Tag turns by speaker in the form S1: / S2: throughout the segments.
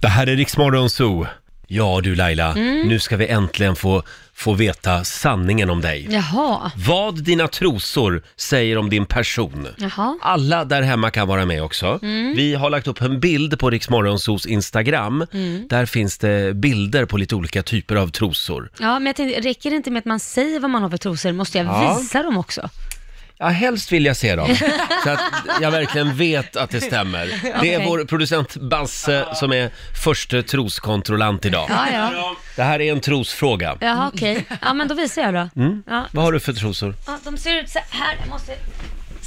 S1: Det här är Riksmorgon Zoo. Ja du Laila,
S2: Mm.
S1: nu ska vi äntligen få, få veta sanningen om dig.
S2: Jaha.
S1: Vad dina trosor säger om din person.
S2: Jaha.
S1: Alla där hemma kan vara med också.
S2: Mm.
S1: Vi har lagt upp en bild på Riksmorgonsos Instagram.
S2: Mm.
S1: Där finns det bilder på lite olika typer av trosor.
S2: Ja, men jag tänkte, räcker det inte med att man säger vad man har för trosor? Måste jag
S1: Ja.
S2: visa dem också?
S1: Ja, helst vill jag se dem. Så att jag verkligen vet att det stämmer. Det är
S2: Okej.
S1: vår producent Basse som är första troskontrollant idag.
S2: Ja, ja.
S1: Det här är en trosfråga.
S2: Jaha, okej. Ja, men då visar jag då.
S1: Mm.
S2: Ja.
S1: Vad har du för trosor?
S2: Ja, de ser ut så här. Jag måste...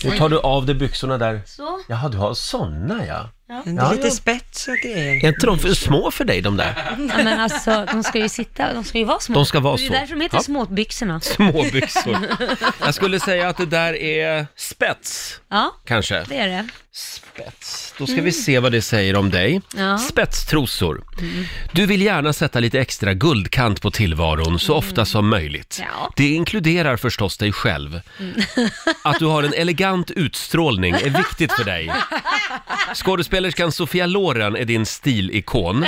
S1: Nu tar du av dig byxorna där.
S2: Så.
S1: Jaha, du har såna ja.
S2: Ja.
S3: Det är lite spets och grejer.
S1: Är inte de för små för dig de där?
S2: Ja, men alltså, de ska ju sitta, de ska ju vara små.
S1: De ska vara
S2: Det
S1: så.
S2: är därför de heter
S1: Ja.
S2: småbyxorna.
S1: Småbyxor. Jag skulle säga att det där är spets,
S2: Ja,
S1: kanske.
S2: det är det.
S1: Spets. Då ska vi se vad det säger om dig.
S2: Ja. Mm.
S1: Spetstrosor. Du vill gärna sätta lite extra guldkant på tillvaron så ofta som möjligt.
S2: Mm. Ja. Mm.
S1: Det inkluderar förstås dig själv. Att du har en elegant utstrålning är viktigt för dig. Skådespelerskan Sofia Loren är din stilikon.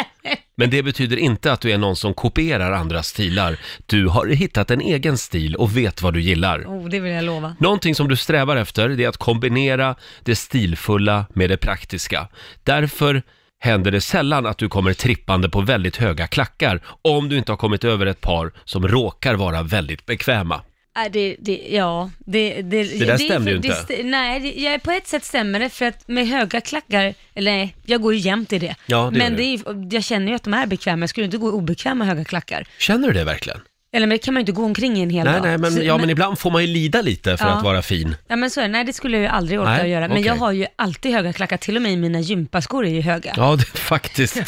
S1: Men det betyder inte att du är någon som kopierar andra stilar. Du har hittat en egen stil och vet vad du gillar.
S2: Oh, det vill jag lova.
S1: Någonting som du strävar efter det är att kombinera det stilfulla med det praktiska. Därför händer det sällan att du kommer trippande på väldigt höga klackar om du inte har kommit över ett par som råkar vara väldigt bekväma.
S2: Nej, det, det, ja, det, det,
S1: där stämde ju
S2: det-
S1: inte.
S2: st- nej, det, jag, på ett sätt stämmer det för att med höga klackar, eller nej, jag går ju jämt i det.
S1: Ja, det
S2: Men
S1: gör
S2: det är, ju- jag känner ju att de är bekväma, jag skulle inte gå i obekväma höga klackar.
S1: Känner du det verkligen?
S2: Eller men det kan man ju inte gå omkring i en hel
S1: Nej,
S2: dag.
S1: nej,
S2: Så-
S1: men, ja, men ibland får man ju lida lite för
S2: Ja.
S1: att vara fin.
S2: Ja men så är det, nej det skulle jag ju aldrig orka
S1: Nej,
S2: göra. Men jag
S1: okej.
S2: har ju alltid höga klackar, till och med mina gympaskor är ju höga. Eh,
S1: Ja, det, faktiskt.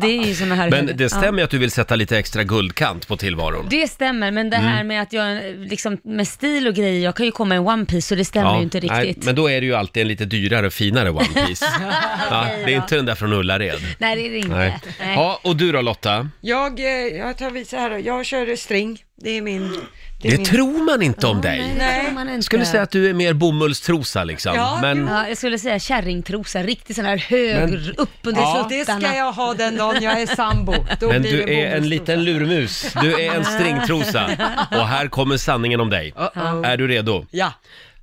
S2: Det är ju såna här höga.
S1: Men det
S2: Ja.
S1: stämmer ju att du vill sätta lite extra guldkant på tillvaron.
S2: Det stämmer, men det här
S1: Mm.
S2: med att jag eh, liksom med stil och grejer, jag kan ju komma i one piece så det stämmer ju inte
S1: nej,
S2: riktigt. Nej,
S1: men då är det ju alltid en lite dyrare, finare One Piece. ja, det är inte den där från Ullared.
S2: det är det inte.
S1: Nej.
S2: Nej.
S1: Ja, och du då Lotta?
S3: Jag, eh, jag tar och visar här då. Jag kör string. Det är min...
S1: Det, tror man inte om dig.
S3: Nej.
S2: Man inte.
S1: Jag skulle säga att du är mer bomullstrosa liksom.
S3: Ja,
S1: men,
S2: Ja, jag skulle säga kärringtrosa, riktigt sån här hög
S1: Men-
S2: upp under
S3: Ja,
S2: ja,
S3: det ska jag ha den dagen jag är sambo. Då
S1: men
S3: blir
S1: du
S3: det
S1: är en liten lurmus. Du är en stringtrosa. Och här kommer sanningen om dig.
S3: Uh-oh.
S1: Är du redo?
S3: Ja.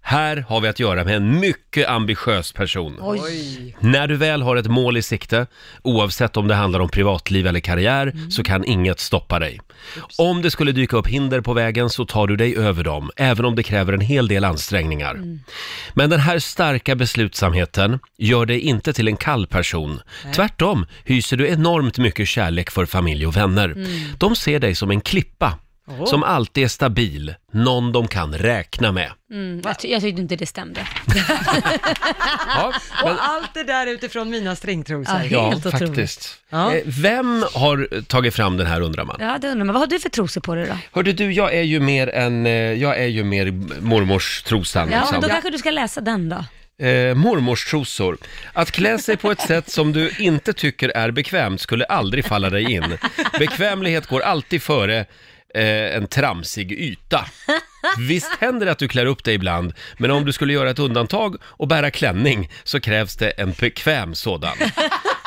S1: Här har vi att göra med en mycket ambitiös person.
S2: Oj.
S1: När du väl har ett mål i sikte, oavsett om det handlar om privatliv eller karriär, så kan inget stoppa dig. Om det skulle dyka upp hinder på vägen så tar du dig över dem, även om det kräver en hel del ansträngningar. Men den här starka beslutsamheten gör dig inte till en kall person. Tvärtom hyser du enormt mycket kärlek för familj och vänner. De ser dig som en klippa,
S2: Åh.
S1: som alltid är stabil, någon de kan räkna med.
S2: Mm, jag, ty- jag tyckte inte det stämde.
S3: Och allt det där utifrån mina stringtrosor.
S2: Ja, helt otroligt.
S1: faktiskt.
S3: Ja.
S1: Eh, Vem har tagit fram den här undrar man?
S2: Ja, det undrar man. Vad har du för trosor på dig då?
S1: Hörde du, jag är ju mer en, eh, jag är ju mer mormors trosan.
S2: Ja,
S1: liksom.
S2: men då kanske du ska läsa den då.
S1: eh, mormors trosor. Att klä sig på ett sätt som du inte tycker är bekvämt skulle aldrig falla dig in. Bekvämlighet går alltid före eh, en tramsig yta. Visst händer det att du klär upp dig ibland, men om du skulle göra ett undantag och bära klänning så krävs det en bekväm sådan.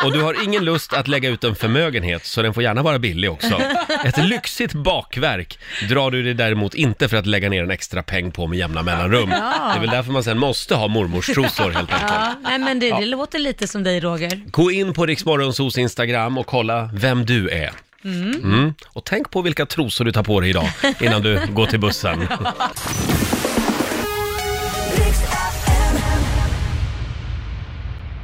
S1: Och du har ingen lust att lägga ut en förmögenhet, så den får gärna vara billig också. Ett lyxigt bakverk drar du dig däremot inte för att lägga ner en extra peng på med jämna mellanrum.
S2: Ja.
S1: Det är väl därför man sen måste ha mormors trosor helt enkelt.
S2: Ja, nej men det, det låter lite som dig Roger.
S1: Gå in på Riksmorgonsos Instagram och kolla vem du är.
S2: Mm.
S1: Mm. Och tänk på vilka trosor du tar på dig idag innan du går till bussen.